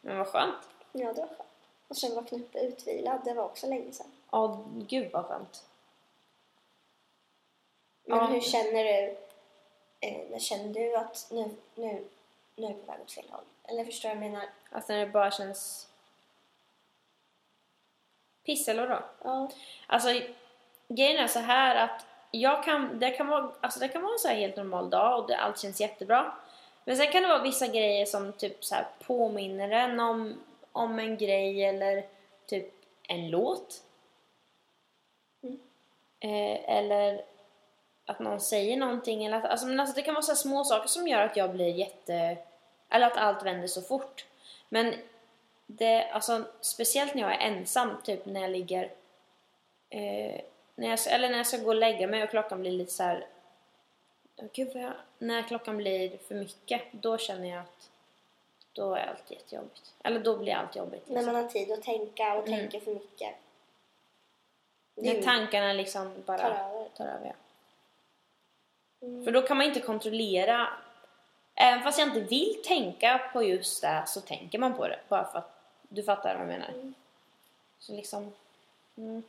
Speaker 2: Men vad skönt.
Speaker 1: Ja, det var skönt. Och sen vaknade jag upp utvilad. Det var också länge sedan.
Speaker 2: Ja, gud vad skönt.
Speaker 1: Men
Speaker 2: Ja.
Speaker 1: hur känner du? Eh, när känner du att nu, nu, nu är jag på väg åt fel håll? Eller förstår du vad jag menar?
Speaker 2: Alltså när det bara känns... Piss eller då?
Speaker 1: Ja.
Speaker 2: Alltså grejen är så här att jag kan, det, kan vara, alltså det kan vara en så här helt normal dag och det, allt känns jättebra. Men sen kan det vara vissa grejer som typ så här påminner en om, om en grej eller typ en låt.
Speaker 1: Mm.
Speaker 2: Eh, eller att någon säger någonting. Eller att, alltså, men alltså det kan vara så här små saker som gör att jag blir jätte... Eller att allt vänder så fort. Men det, alltså, speciellt när jag är ensam, typ när jag ligger Eh, när jag, eller när jag ska gå och lägga mig och klockan blir lite så här. Åh, Gud vad jag, när klockan blir för mycket, då känner jag att då är allt jättejobbigt. Eller då blir allt jobbigt.
Speaker 1: När
Speaker 2: Liksom.
Speaker 1: man har tid att tänka och
Speaker 2: Mm.
Speaker 1: tänker för mycket. Det är
Speaker 2: När tankarna liksom bara
Speaker 1: tar över.
Speaker 2: tar över. Ja.
Speaker 1: Mm.
Speaker 2: För då kan man inte kontrollera. Även fast jag inte vill tänka på just det så tänker man på det. Bara för att du fattar vad jag menar.
Speaker 1: Mm.
Speaker 2: Så liksom... Mm,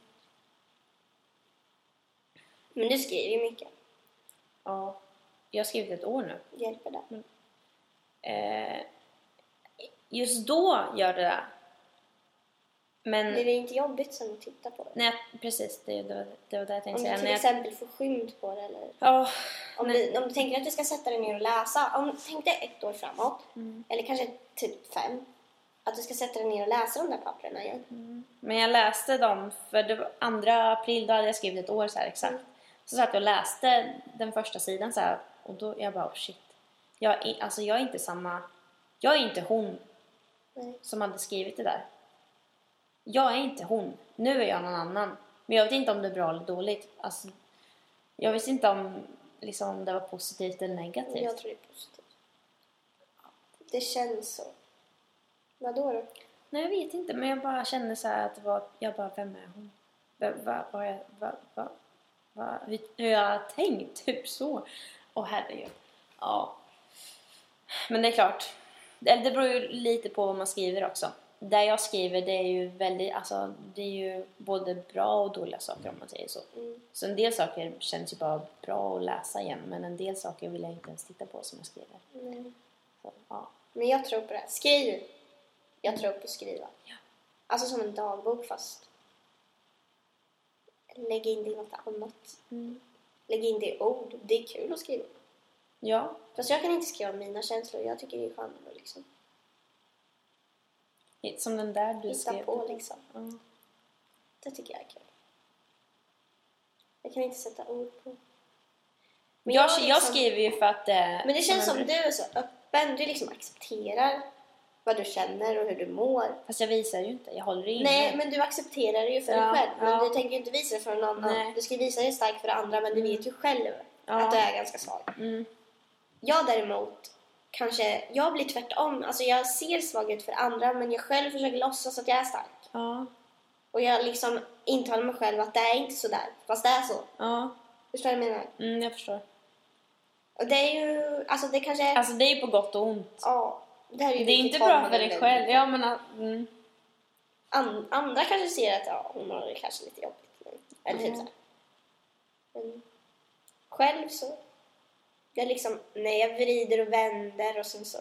Speaker 1: Men du skriver ju mycket.
Speaker 2: ja. Jag har skrivit ett år nu.
Speaker 1: Hjälper det?
Speaker 2: Eh, just då gör det det. Men
Speaker 1: Blir det inte jobbigt sen att titta på det?
Speaker 2: när jag, precis, det, det, var, det var det jag tänkte
Speaker 1: Om du
Speaker 2: säga.
Speaker 1: till
Speaker 2: När jag,
Speaker 1: exempel får skymd på det eller
Speaker 2: Ja,
Speaker 1: Om
Speaker 2: Nej.
Speaker 1: du, om du tänker att du ska sätta dig ner och läsa, om, tänk dig ett år framåt,
Speaker 2: Mm.
Speaker 1: eller kanske typ fem, att du ska sätta dig ner och läsa de där papperna igen.
Speaker 2: men jag läste dem, för det var 2 april, då hade jag skrivit ett år så här exakt. Så satt jag och läste den första sidan så här och då jag bara oh shit. Jag är, alltså jag är inte samma, jag är inte hon
Speaker 1: Nej.
Speaker 2: som hade skrivit det där. Jag är inte hon. Nu är jag någon annan. Men jag vet inte om det är bra eller dåligt. Alltså, jag visste inte om, liksom, om det var positivt eller negativt.
Speaker 1: Jag tror det är positivt. Det känns så. Vadå då?
Speaker 2: Nej, jag vet inte. Men jag bara kände så här att det var, jag bara, vem är hon? Vad va, va, va, va, va, va, hur, hur jag har tänkt, [laughs] typ så. Åh herregud. Ja. Men det är klart. Det det beror ju lite på vad man skriver också. Där jag skriver, det är ju väldigt, alltså det är ju både bra och dåliga saker om man säger så.
Speaker 1: Mm.
Speaker 2: Så en del saker känns ju bara bra att läsa igen men en del saker vill jag inte ens titta på som jag skriver.
Speaker 1: Nej.
Speaker 2: Så, ja.
Speaker 1: Men jag tror på det. här. Skriv! Jag tror på att skriva.
Speaker 2: Ja.
Speaker 1: Alltså som en dagbok fast. Lägg in det i något annat. Lägg in det i ord. Det är kul att skriva.
Speaker 2: ja.
Speaker 1: Fast jag kan inte skriva om mina känslor. Jag tycker det är skönare att liksom
Speaker 2: Som den där du
Speaker 1: hitta
Speaker 2: skrev.
Speaker 1: på liksom.
Speaker 2: Ja.
Speaker 1: Det tycker jag är kul. Jag kan inte sätta ord på. Men
Speaker 2: jag,
Speaker 1: jag
Speaker 2: jag,
Speaker 1: liksom-
Speaker 2: skriver ju för att... eh,
Speaker 1: Men det känns som
Speaker 2: en-
Speaker 1: du är så öppen. Du liksom accepterar vad du känner och hur du mår.
Speaker 2: Fast jag visar ju inte, jag håller ju inne.
Speaker 1: Nej, men du accepterar det ju för
Speaker 2: Ja,
Speaker 1: dig själv. Men
Speaker 2: ja.
Speaker 1: du tänker ju inte visa det för någon annan.
Speaker 2: Nej.
Speaker 1: Du ska visa dig stark för andra, men du
Speaker 2: Mm.
Speaker 1: vet ju själv
Speaker 2: Ja.
Speaker 1: att du är ganska svag.
Speaker 2: Mm.
Speaker 1: Jag däremot, kanske, jag blir tvärtom. Alltså jag ser svag ut för andra, men jag själv försöker låtsas att jag är stark.
Speaker 2: Ja,
Speaker 1: Och jag liksom intalar mig själv att det är inte så där, fast det är så.
Speaker 2: ja.
Speaker 1: Förstår du vad jag menar?
Speaker 2: Mm, jag förstår.
Speaker 1: Och det är ju, alltså det kanske är,
Speaker 2: Alltså det är ju på gott och ont.
Speaker 1: ja. Det, här är ju
Speaker 2: Det är
Speaker 1: vilket
Speaker 2: inte
Speaker 1: håll
Speaker 2: bra
Speaker 1: man
Speaker 2: för dig
Speaker 1: vänder.
Speaker 2: själv. Ja, men, att- mm.
Speaker 1: An, andra kanske ser att ja, hon har det kanske lite jobbigt. Men, eller typ
Speaker 2: Mm.
Speaker 1: såhär. Men själv så, jag liksom, nej jag vrider och vänder och sen så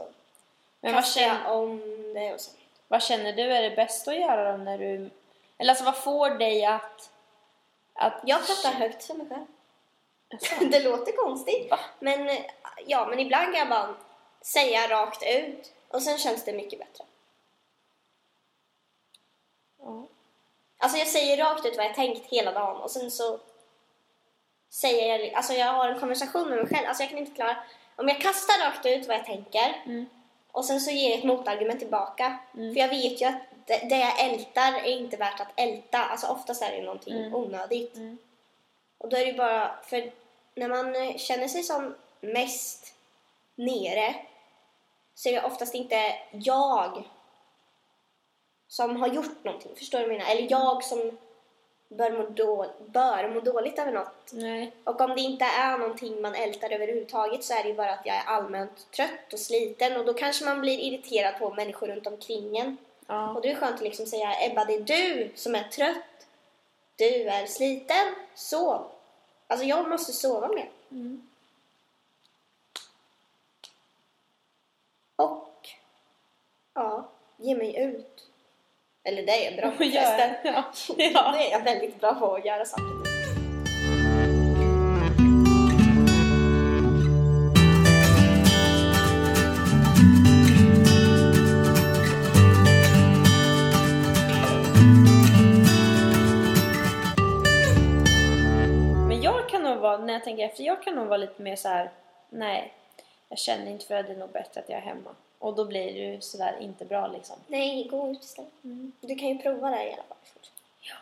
Speaker 2: men vad,
Speaker 1: kastar
Speaker 2: känner,
Speaker 1: jag om det och så.
Speaker 2: vad känner du är det bästa att göra då när du... Eller alltså vad får dig att... att
Speaker 1: Jag pratar högt för mig själv. [laughs] det låter konstigt.
Speaker 2: Va?
Speaker 1: Men eh, ja, men ibland kan jag bara säga rakt ut och sen känns det mycket bättre.
Speaker 2: Ja.
Speaker 1: Alltså jag säger rakt ut vad jag tänkt hela dagen och sen så säger jag, alltså jag har en konversation med mig själv, alltså jag kan inte klara, om jag kastar rakt ut vad jag tänker
Speaker 2: Mm.
Speaker 1: Och sen så ger jag ett motargument tillbaka.
Speaker 2: Mm.
Speaker 1: För jag vet ju att det, det jag ältar är inte värt att älta. Alltså oftast är det ju någonting
Speaker 2: Mm.
Speaker 1: onödigt.
Speaker 2: Mm.
Speaker 1: Och då är det ju bara, för när man eh, känner sig som mest nere så är det oftast inte jag som har gjort någonting. Förstår du vad jag menar? Eller jag som bör må, då, bör må dåligt över något.
Speaker 2: Nej.
Speaker 1: Och om det inte är någonting man ältar överhuvudtaget så är det ju bara att jag är allmänt trött och sliten och då kanske man blir irriterad på människor runt omkring en.
Speaker 2: Ja.
Speaker 1: Och då är det skönt att liksom säga Ebba, det är du som är trött. Du är sliten. Sov. Alltså jag måste sova mer.
Speaker 2: Mm.
Speaker 1: Och ja, ge mig ut. Eller det är [laughs] jag bra på förresten.
Speaker 2: Gör. Ja. ja.
Speaker 1: Det är jag väldigt bra på att göra saker.
Speaker 2: Men jag kan nog vara, när jag tänker efter, jag kan nog vara lite mer så här. nej, jag känner inte för det, det är nog bättre att jag är hemma. Och då blir det ju sådär inte bra liksom.
Speaker 1: Nej, gå ut istället.
Speaker 2: Mm.
Speaker 1: Du kan ju prova det i alla fall. liksom.
Speaker 2: Ja.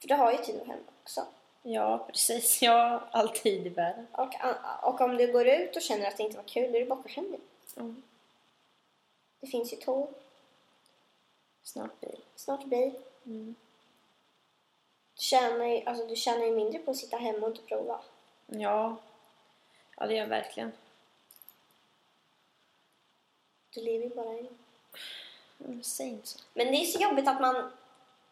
Speaker 1: För du har ju tid att hemma också.
Speaker 2: Ja, precis. [laughs] Jag har all tid i världen.
Speaker 1: Och, och om du går ut och känner att det inte var kul, då är det bara att gå hem igen.
Speaker 2: Mm.
Speaker 1: Det finns ju tåg,
Speaker 2: Snart bil.
Speaker 1: snart bil.
Speaker 2: Mm.
Speaker 1: Du tjänar, ju, alltså, du tjänar ju mindre på att sitta hemma och inte prova.
Speaker 2: Ja. Ja, det gör jag verkligen.
Speaker 1: Du lever ju bara en.
Speaker 2: Mm, Säg inte så.
Speaker 1: Men det är så jobbigt att man...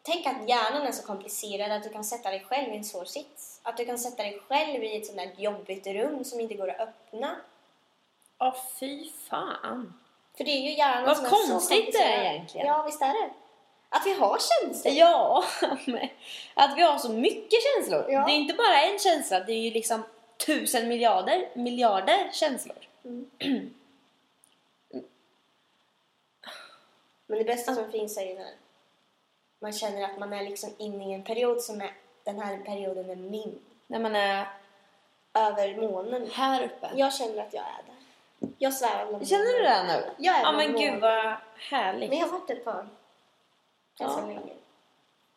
Speaker 1: Tänk att hjärnan är så komplicerad att du kan sätta dig själv i en svår sits. Att du kan sätta dig själv i ett sånt där jobbigt rum som inte går att öppna.
Speaker 2: Ja, fy fan.
Speaker 1: För det är ju hjärnan
Speaker 2: Vad
Speaker 1: som är så
Speaker 2: konstigt det är
Speaker 1: komplicerad.
Speaker 2: egentligen.
Speaker 1: Ja, visst är det. Att vi har känslor.
Speaker 2: Ja, [laughs] men att vi har så mycket känslor.
Speaker 1: Ja.
Speaker 2: Det är inte bara en känsla, det är ju liksom tusen miljarder, miljarder känslor.
Speaker 1: Men det bästa som finns är ju när man känner att man är liksom inne i en period som är den här perioden är min.
Speaker 2: När man är
Speaker 1: Över månen.
Speaker 2: här uppe.
Speaker 1: Jag känner att jag är där. Jag svävar bland
Speaker 2: Känner du
Speaker 1: månen.
Speaker 2: det nu?
Speaker 1: Jag är
Speaker 2: Ja
Speaker 1: bland
Speaker 2: men
Speaker 1: molnen.
Speaker 2: gud vad
Speaker 1: Men
Speaker 2: härligt.
Speaker 1: jag har varit ett tag. Ganska
Speaker 2: Ja.
Speaker 1: länge.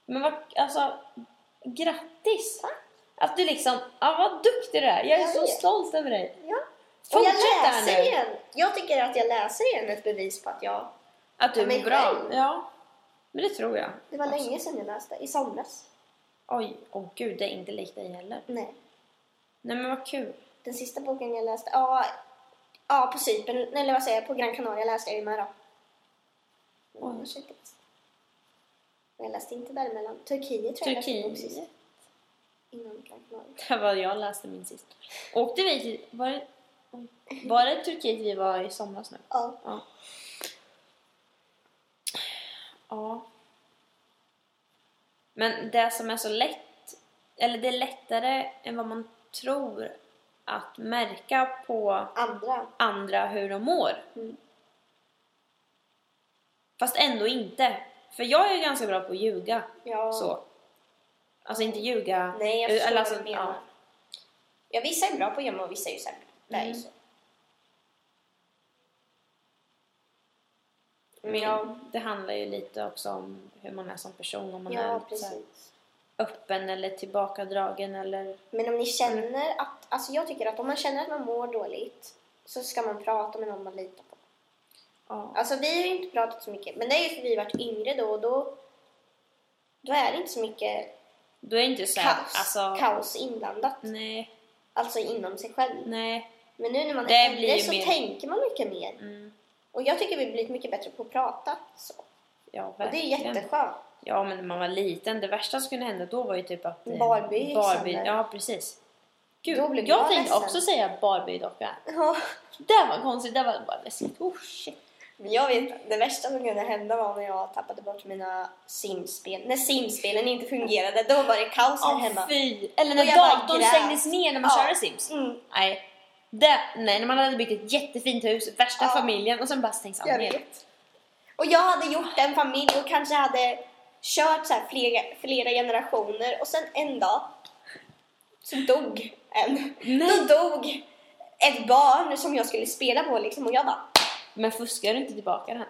Speaker 2: Men vad, alltså, grattis! Att du liksom, ja vad duktig du är. Jag är
Speaker 1: Jag
Speaker 2: så
Speaker 1: vet.
Speaker 2: stolt över dig.
Speaker 1: Ja. Och jag
Speaker 2: Fortsätt där
Speaker 1: läser
Speaker 2: nu.
Speaker 1: igen. Jag tycker att jag läser igen ett bevis på att jag...
Speaker 2: Att du
Speaker 1: För mig
Speaker 2: är bra.
Speaker 1: själv.
Speaker 2: Ja, men det tror jag.
Speaker 1: Det var
Speaker 2: Absolut.
Speaker 1: länge sedan jag läste. I somras.
Speaker 2: Oj, åh gud det är inte likt dig heller.
Speaker 1: Nej.
Speaker 2: Nej men vad kul. [laughs]
Speaker 1: Den sista boken jag läste... Ja, ja på Cypern. Eller vad säger jag? På Gran Canaria läste jag ju med då. Men
Speaker 2: Oj.
Speaker 1: annars har jag inte läst. Men jag läste inte däremellan. Turkiet tror jag läste en bok sist.
Speaker 2: Turkiet.
Speaker 1: Innan Gran Canaria.
Speaker 2: Det var jag läste min sist. Åkte vi till... Var det, var det Turkiet vi var i somras nu?
Speaker 1: Ja.
Speaker 2: Ja. Ja. Men det som är så lätt... Eller det är lättare än vad man tror att märka på
Speaker 1: Andra.
Speaker 2: andra hur de mår.
Speaker 1: Mm.
Speaker 2: Fast ändå inte. För jag är ganska bra på att ljuga.
Speaker 1: Ja.
Speaker 2: Så. Alltså inte ljuga...
Speaker 1: Nej, jag
Speaker 2: eller
Speaker 1: förstår
Speaker 2: alltså,
Speaker 1: vad du menar. Ja. vissa är bra på att gömma och vissa är ju sämre. Det är ju
Speaker 2: Mm.
Speaker 1: så.
Speaker 2: Men
Speaker 1: ja,
Speaker 2: det handlar ju lite också om hur man är som person. Om man är
Speaker 1: ja
Speaker 2: lite så här
Speaker 1: precis.
Speaker 2: öppen eller tillbakadragen eller...
Speaker 1: Men om ni känner att, alltså jag tycker att om man känner att man mår dåligt så ska man prata med någon man litar på.
Speaker 2: Ja.
Speaker 1: Alltså vi har ju inte pratat så mycket, men det är ju för vi varit yngre då och då, då är det inte så mycket
Speaker 2: Då är det inte så här,
Speaker 1: kaos,
Speaker 2: alltså...
Speaker 1: kaos inblandat.
Speaker 2: Nej,
Speaker 1: Alltså inom sig själv.
Speaker 2: nej.
Speaker 1: Men nu när man
Speaker 2: Det
Speaker 1: är
Speaker 2: blir
Speaker 1: äldre
Speaker 2: ju
Speaker 1: så
Speaker 2: mer-
Speaker 1: tänker man mycket mer.
Speaker 2: Mm,
Speaker 1: Och jag tycker vi har blivit mycket bättre på att prata. Så.
Speaker 2: ja,
Speaker 1: Och det är
Speaker 2: verkligen.
Speaker 1: jätteskönt.
Speaker 2: Ja, men när man var liten, det värsta som kunde hända då var ju typ att... eh,
Speaker 1: Barbie gick
Speaker 2: Barbie
Speaker 1: sönder.
Speaker 2: Ja, precis. Gud,
Speaker 1: Då blev
Speaker 2: jag
Speaker 1: jag
Speaker 2: tänkte
Speaker 1: ledsen.
Speaker 2: också säga Barbie-docka.
Speaker 1: Ja.
Speaker 2: Det var konstigt, det var bara läskigt. Oh shit.
Speaker 1: Men jag vet, det värsta som kunde hända var när jag tappade bort mina simspel. När simspelen inte fungerade, då var det kaos här
Speaker 2: Åh,
Speaker 1: hemma.
Speaker 2: fy. Eller när
Speaker 1: Och jag bara
Speaker 2: datorn
Speaker 1: grät.
Speaker 2: stängdes ner när man
Speaker 1: Ja.
Speaker 2: körde Sims.
Speaker 1: Mm,
Speaker 2: Nej. Det, nej, när man hade byggt ett jättefint hus, värsta
Speaker 1: Ja.
Speaker 2: familjen och sen bara stängs av
Speaker 1: jag
Speaker 2: helt.
Speaker 1: vet. Och jag hade gjort en familj och kanske hade kört så här flera, flera generationer och sen en dag så dog en.
Speaker 2: Nej.
Speaker 1: Då dog ett barn som jag skulle spela på liksom och jag bara
Speaker 2: Men fuskar du inte tillbaka den?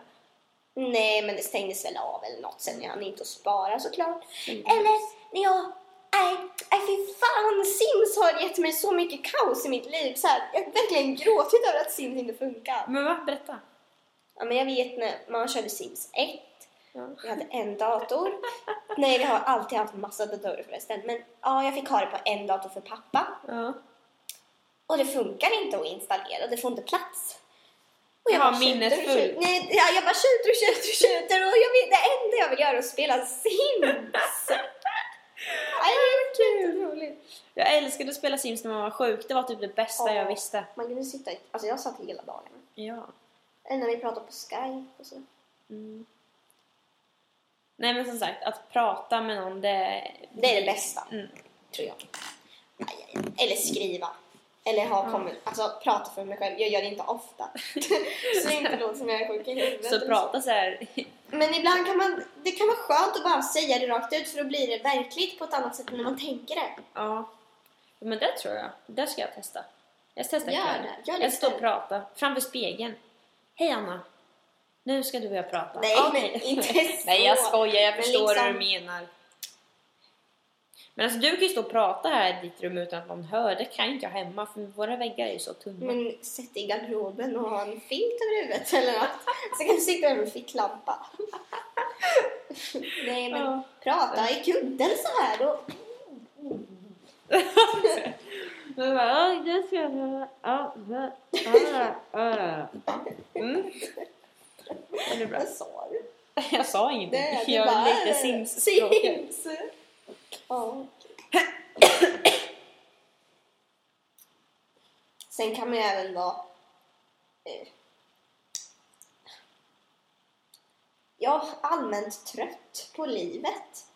Speaker 1: Nej, men det stängdes väl av eller något sen. Jag hann inte att spara såklart.
Speaker 2: Mm.
Speaker 1: Eller när jag... Nej, nej fy fan! Sims har gett mig så mycket kaos i mitt liv. Så här, jag har verkligen gråtit över att Sims inte funkar.
Speaker 2: Men va? Berätta.
Speaker 1: Ja, men jag vet när man körde Sims 1. Jag hade en dator. Nej, vi har alltid haft massa datorer förresten. Men ja, jag fick ha det på en dator för pappa.
Speaker 2: Ja.
Speaker 1: Och det funkar inte att installera, det får inte plats. Och
Speaker 2: Ja,
Speaker 1: bara tjuter och
Speaker 2: minnesfull.
Speaker 1: tjuter. Nej, ja, jag bara tjuter och tjuter och tjuter och jag vill, det enda jag vill göra är att spela Sims.
Speaker 2: Alltså.
Speaker 1: Ja, det är kul. roligt.
Speaker 2: Jag älskade att spela Sims när man var sjuk. Det var typ det bästa
Speaker 1: Ja.
Speaker 2: jag visste.
Speaker 1: Man kunde sitta, i- alltså jag satt hela dagarna.
Speaker 2: Ja.
Speaker 1: Eller när vi pratade på Skype och så.
Speaker 2: Mm. Nej men som sagt, att prata med någon det...
Speaker 1: Det är det bästa,
Speaker 2: Mm.
Speaker 1: tror jag. Aj, aj, aj. Eller skriva. Eller ha
Speaker 2: Ja.
Speaker 1: kommun, alltså prata för mig själv. Jag gör det inte
Speaker 2: [laughs]
Speaker 1: ofta. så det inte låter som jag är sjuk i huvudet.
Speaker 2: Så
Speaker 1: eller
Speaker 2: prata så här.
Speaker 1: Men ibland kan man, det kan vara skönt att bara säga det rakt ut för då blir det verkligt på ett annat sätt än när man tänker det.
Speaker 2: Ja. Men det tror jag. Det ska jag testa. Jag ska testa
Speaker 1: Gör
Speaker 2: ikväll.
Speaker 1: det, gör det
Speaker 2: Jag står och
Speaker 1: istället.
Speaker 2: pratar framför spegeln. Hej Anna. Nu ska du och jag prata.
Speaker 1: Nej,
Speaker 2: Okej.
Speaker 1: men inte så.
Speaker 2: [laughs] Nej jag skojar, jag
Speaker 1: Men
Speaker 2: förstår
Speaker 1: liksom-
Speaker 2: hur du menar. Men alltså du kan ju stå och prata här i ditt rum utan att någon hör. Det kan ju inte jag hemma för våra väggar är ju så tunna.
Speaker 1: Men sätt dig i garderoben och ha en filt över huvudet eller något. Så kan du sitta där med en ficklampa. Nej men
Speaker 2: Ja.
Speaker 1: prata i kudden så här då.
Speaker 2: [laughs] Men bara, "Ja, det ska jag göra. Ja, ja, ja, ja, ja." Mm. Ja, Det är bra.
Speaker 1: Vad sa du?
Speaker 2: [laughs] Jag sa ingenting.
Speaker 1: Det- du
Speaker 2: jag
Speaker 1: bara,
Speaker 2: är
Speaker 1: "Äh,
Speaker 2: lite [laughs] simspråkig.
Speaker 1: Sims. Ja. Sen kan man ju även vara... eh, Ja, allmänt trött på livet.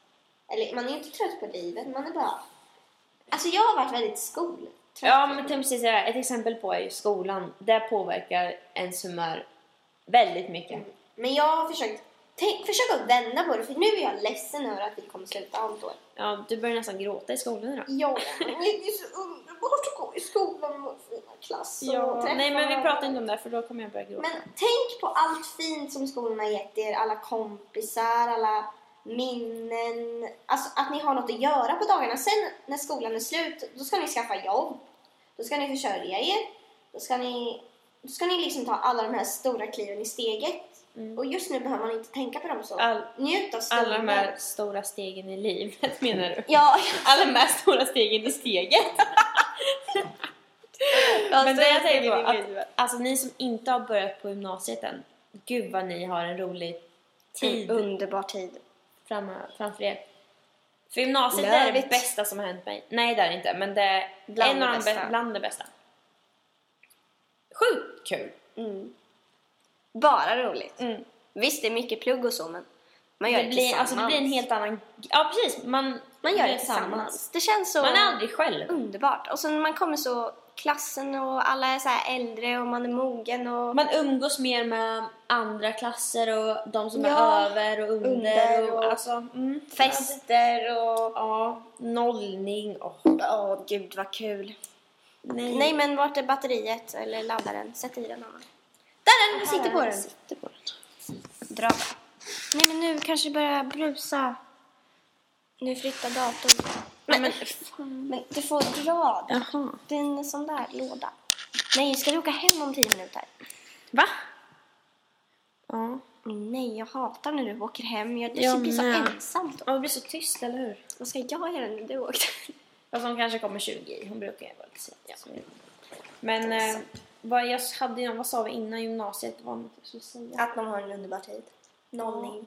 Speaker 1: Eller man är ju inte trött på livet, man är bara... Alltså jag har varit väldigt skol.
Speaker 2: Ja, men tänkte precis säga, ett exempel på är ju skolan. Det påverkar ens humör väldigt mycket.
Speaker 1: Men jag har försökt... Tänk, försök att vända på det, för nu är jag ledsen över att vi kommer sluta om ett år.
Speaker 2: Ja, du börjar nästan gråta i skolan idag.
Speaker 1: Ja, men det är så underbart att gå i skolan med fina klasser och träffa
Speaker 2: Nej, men vi
Speaker 1: varandra.
Speaker 2: pratar inte om det här, för då kommer jag börja gråta.
Speaker 1: Men tänk på allt fint som skolan har gett er, alla kompisar, alla minnen, alltså att ni har något att göra på dagarna. Sen när skolan är slut, då ska ni skaffa jobb, då ska ni försörja er, då ska ni, då ska ni liksom ta alla de här stora kliven i steget.
Speaker 2: Mm.
Speaker 1: Och just nu behöver man inte tänka på dem så.
Speaker 2: All,
Speaker 1: Njut av stunden.
Speaker 2: alla de här stora stegen i livet, [laughs] menar du?
Speaker 1: Ja,
Speaker 2: Alla de här stora stegen i steget.
Speaker 1: [laughs]
Speaker 2: Men det jag tänker på, att, alltså ni som inte har börjat på gymnasiet än, gud vad ni har en rolig tid
Speaker 1: underbar tid.
Speaker 2: fram, framför er. För gymnasiet
Speaker 1: Love
Speaker 2: är det
Speaker 1: it.
Speaker 2: bästa som har hänt mig. Nej det är det inte, men det är
Speaker 1: Bland
Speaker 2: en
Speaker 1: det
Speaker 2: av de
Speaker 1: bästa.
Speaker 2: bä- bland det bästa. Sjukt kul!
Speaker 1: Mm. Bara roligt.
Speaker 2: Mm.
Speaker 1: Visst, det är mycket plugg och så, men man gör
Speaker 2: Det,
Speaker 1: det,
Speaker 2: blir,
Speaker 1: tillsammans.
Speaker 2: alltså, det blir en helt annan... Ja precis, man,
Speaker 1: Man gör det tillsammans. Det känns så
Speaker 2: Man är aldrig själv.
Speaker 1: underbart. Och sen när man kommer så, klassen och alla är så här äldre och man är mogen och
Speaker 2: Man umgås mer med andra klasser och de som
Speaker 1: Ja.
Speaker 2: är över och under.
Speaker 1: Under
Speaker 2: och,
Speaker 1: och-
Speaker 2: alltså, mm,
Speaker 1: fester och...
Speaker 2: Ja, nollning och...
Speaker 1: Åh, gud vad kul.
Speaker 2: Nej.
Speaker 1: Nej, men vart är batteriet eller laddaren? Sätt i den, Anna. Där är den! Sitter på den.
Speaker 2: Sitter på den.
Speaker 1: Dra bara. Nej, men nu kanske det börjar brusa. Nu flyttar datorn.
Speaker 2: Nej, men...
Speaker 1: Men du får dra den.
Speaker 2: Jaha.
Speaker 1: Det är en sån där låda. Nej, ska du åka hem om tio minuter?
Speaker 2: Va? Ja.
Speaker 1: Nej, jag hatar när du åker hem. Jag, det
Speaker 2: Jag
Speaker 1: blir så
Speaker 2: med.
Speaker 1: ensamt.
Speaker 2: Och det blir så tyst, eller hur?
Speaker 1: Vad ska jag göra när du åkte?
Speaker 2: Fast hon kanske kommer 20 i. Hon brukar ju vara lite sen. Men eh, vad, jag hade, ju- vad sa vi innan gymnasiet? Vad var något jag skulle säga?
Speaker 1: Att man har en underbar tid. Nollning.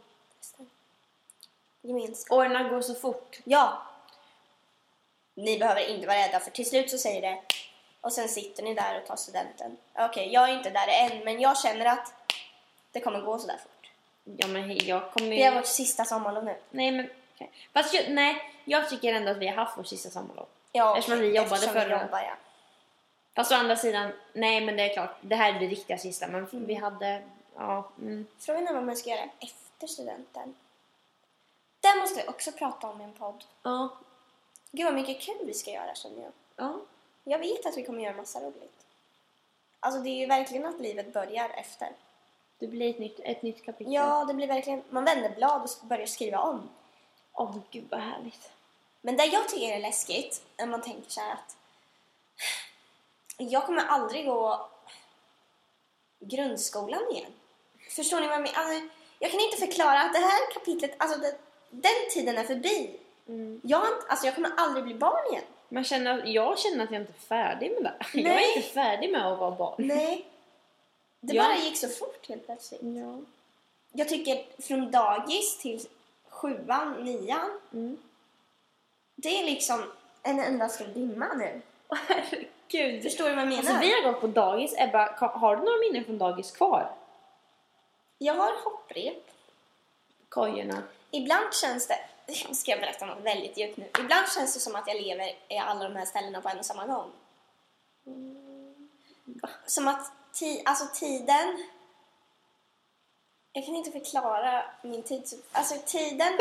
Speaker 1: Gemenskap.
Speaker 2: Åren går så fort.
Speaker 1: Ja! Ni behöver inte vara rädda för till slut så säger det och sen sitter ni där och tar studenten. Okej, jag är inte där än men jag känner att det kommer gå sådär fort.
Speaker 2: Ja, men hej, jag kommer
Speaker 1: Det är
Speaker 2: ju...
Speaker 1: vårt sista sommarlov nu.
Speaker 2: Nej, men... okej. Fast jag, nej, jag tycker ändå att vi har haft vår sista sommarlov.
Speaker 1: Ja,
Speaker 2: Eftersom
Speaker 1: okej,
Speaker 2: vi jobbade
Speaker 1: eftersom vi
Speaker 2: förra-
Speaker 1: jobbar, ja.
Speaker 2: Fast å andra sidan, nej men det är klart, det här är det riktiga sista men
Speaker 1: Mm.
Speaker 2: vi hade, ja. Mm.
Speaker 1: Frågan är vad man ska göra efter studenten. Det måste vi också prata om i en podd.
Speaker 2: Ja.
Speaker 1: Gud vad mycket kul vi ska göra känner jag.
Speaker 2: ja.
Speaker 1: Jag vet att vi kommer göra massa roligt. Alltså det är ju verkligen att livet börjar efter.
Speaker 2: Det blir ett nytt, ett nytt kapitel.
Speaker 1: Ja, det blir verkligen... Man vänder blad och börjar skriva om.
Speaker 2: Åh gud vad härligt.
Speaker 1: Men det jag tycker är läskigt, när man tänker så här att... Jag kommer aldrig gå grundskolan igen. Förstår ni vad jag menar? Alltså, jag kan inte förklara att det här kapitlet, alltså det, den tiden är förbi.
Speaker 2: Mm.
Speaker 1: Jag, har inte- alltså, jag kommer aldrig bli barn igen.
Speaker 2: Man känner, jag känner att jag inte är färdig med det här. Jag
Speaker 1: Nej.
Speaker 2: är inte färdig med att vara barn.
Speaker 1: Nej. Det
Speaker 2: Ja.
Speaker 1: bara gick så fort helt plötsligt.
Speaker 2: Ja.
Speaker 1: Jag tycker från dagis till sjuan, nian.
Speaker 2: Mm.
Speaker 1: Det är liksom en enda stor dimma nu.
Speaker 2: Herregud.
Speaker 1: Förstår du vad jag menar?
Speaker 2: Alltså vi har gått på dagis. Ebba, ka- har du några minnen från dagis kvar?
Speaker 1: Jag har hopprep.
Speaker 2: Kojorna.
Speaker 1: Ibland känns det... [laughs] Nu ska jag berätta något väldigt djupt nu. Ibland känns det som att jag lever i alla de här ställena på en och samma gång.
Speaker 2: Mm.
Speaker 1: Som att ti, alltså tiden... Jag kan inte förklara min tid. Alltså tiden...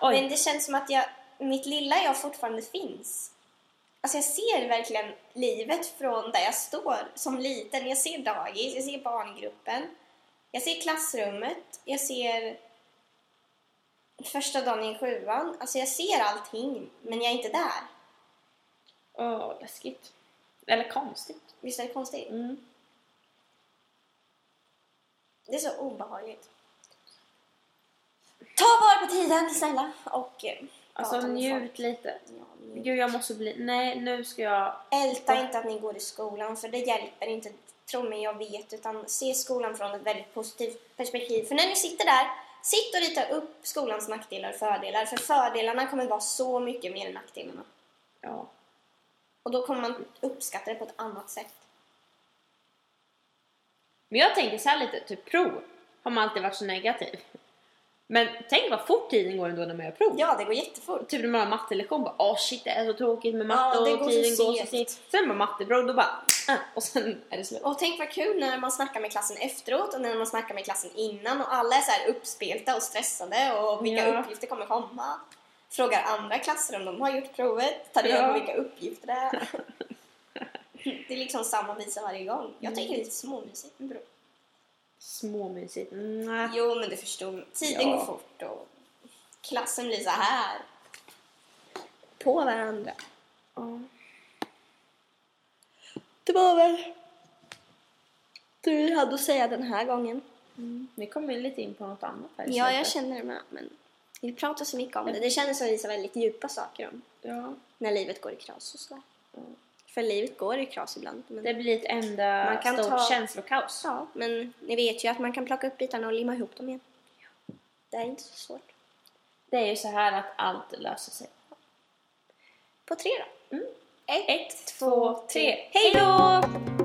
Speaker 2: Oj.
Speaker 1: Men det känns som att jag, mitt lilla jag fortfarande finns. Alltså jag ser verkligen livet från där jag står som liten. Jag ser dagis, jag ser barngruppen, jag ser klassrummet, jag ser första dagen i sjuan. Alltså jag ser allting, men jag är inte där.
Speaker 2: Åh, läskigt. Eller konstigt.
Speaker 1: Visst är det konstigt?
Speaker 2: Mm.
Speaker 1: Det är så obehagligt. Ta vara på tiden, snälla! Och... eh,
Speaker 2: Alltså
Speaker 1: prata med folk.
Speaker 2: njut lite.
Speaker 1: Ja, njut.
Speaker 2: Gud, jag måste bli... Nej, nu ska jag...
Speaker 1: Älta inte att ni går i skolan för det hjälper inte, tro mig jag vet, utan se skolan från ett väldigt positivt perspektiv. För när ni sitter där, sitt och rita upp skolans nackdelar och fördelar, för fördelarna kommer vara så mycket mer än nackdelarna.
Speaker 2: Ja.
Speaker 1: Och då kommer man uppskatta det på ett annat sätt.
Speaker 2: Men jag tänker så här lite, typ prov har man alltid varit så negativ. Men tänk vad fort tiden går ändå när man gör prov.
Speaker 1: Ja, det går jättefort.
Speaker 2: Typ när man har mattelektion, bara åh shit det är så tråkigt med matte
Speaker 1: Ja, det
Speaker 2: och
Speaker 1: går så
Speaker 2: tiden går så
Speaker 1: segt.
Speaker 2: segt. Sen bara matteprov, då bara äh, och sen är det slut.
Speaker 1: Och tänk vad kul när man snackar med klassen efteråt och när man snackar med klassen innan och alla är så här uppspelta och stressade och vilka
Speaker 2: Ja.
Speaker 1: uppgifter kommer komma. Frågar andra klasser om de har gjort provet, tar reda
Speaker 2: Ja.
Speaker 1: på vilka uppgifter det är. [laughs] Det är liksom samma visa varje gång. Jag tycker det är lite småmysigt med prov.
Speaker 2: Småmysigt. Mm, äh.
Speaker 1: Jo, men du förstår. Tiden
Speaker 2: Ja.
Speaker 1: går fort och klassen blir så här. På varandra.
Speaker 2: Ja. Det var väl.
Speaker 1: Du hade att säga den här gången.
Speaker 2: Vi kom in lite in på något annat här i
Speaker 1: Ja, jag
Speaker 2: slutet.
Speaker 1: känner det med. Men vi pratar så mycket om det. Det känns som att vi sa väldigt djupa saker om
Speaker 2: Ja.
Speaker 1: när livet går i kras och sådär.
Speaker 2: Mm.
Speaker 1: För livet går i kras ibland. Men,
Speaker 2: Det blir ett enda
Speaker 1: Man kan
Speaker 2: stort
Speaker 1: ta-
Speaker 2: känslokaos.
Speaker 1: ja, men ni vet ju att man kan plocka upp bitarna och limma ihop dem igen. Det är inte så svårt.
Speaker 2: Det är ju så här att allt löser sig.
Speaker 1: På tre då.
Speaker 2: Mm.
Speaker 1: Ett,
Speaker 2: Två, tre.
Speaker 1: Hej då!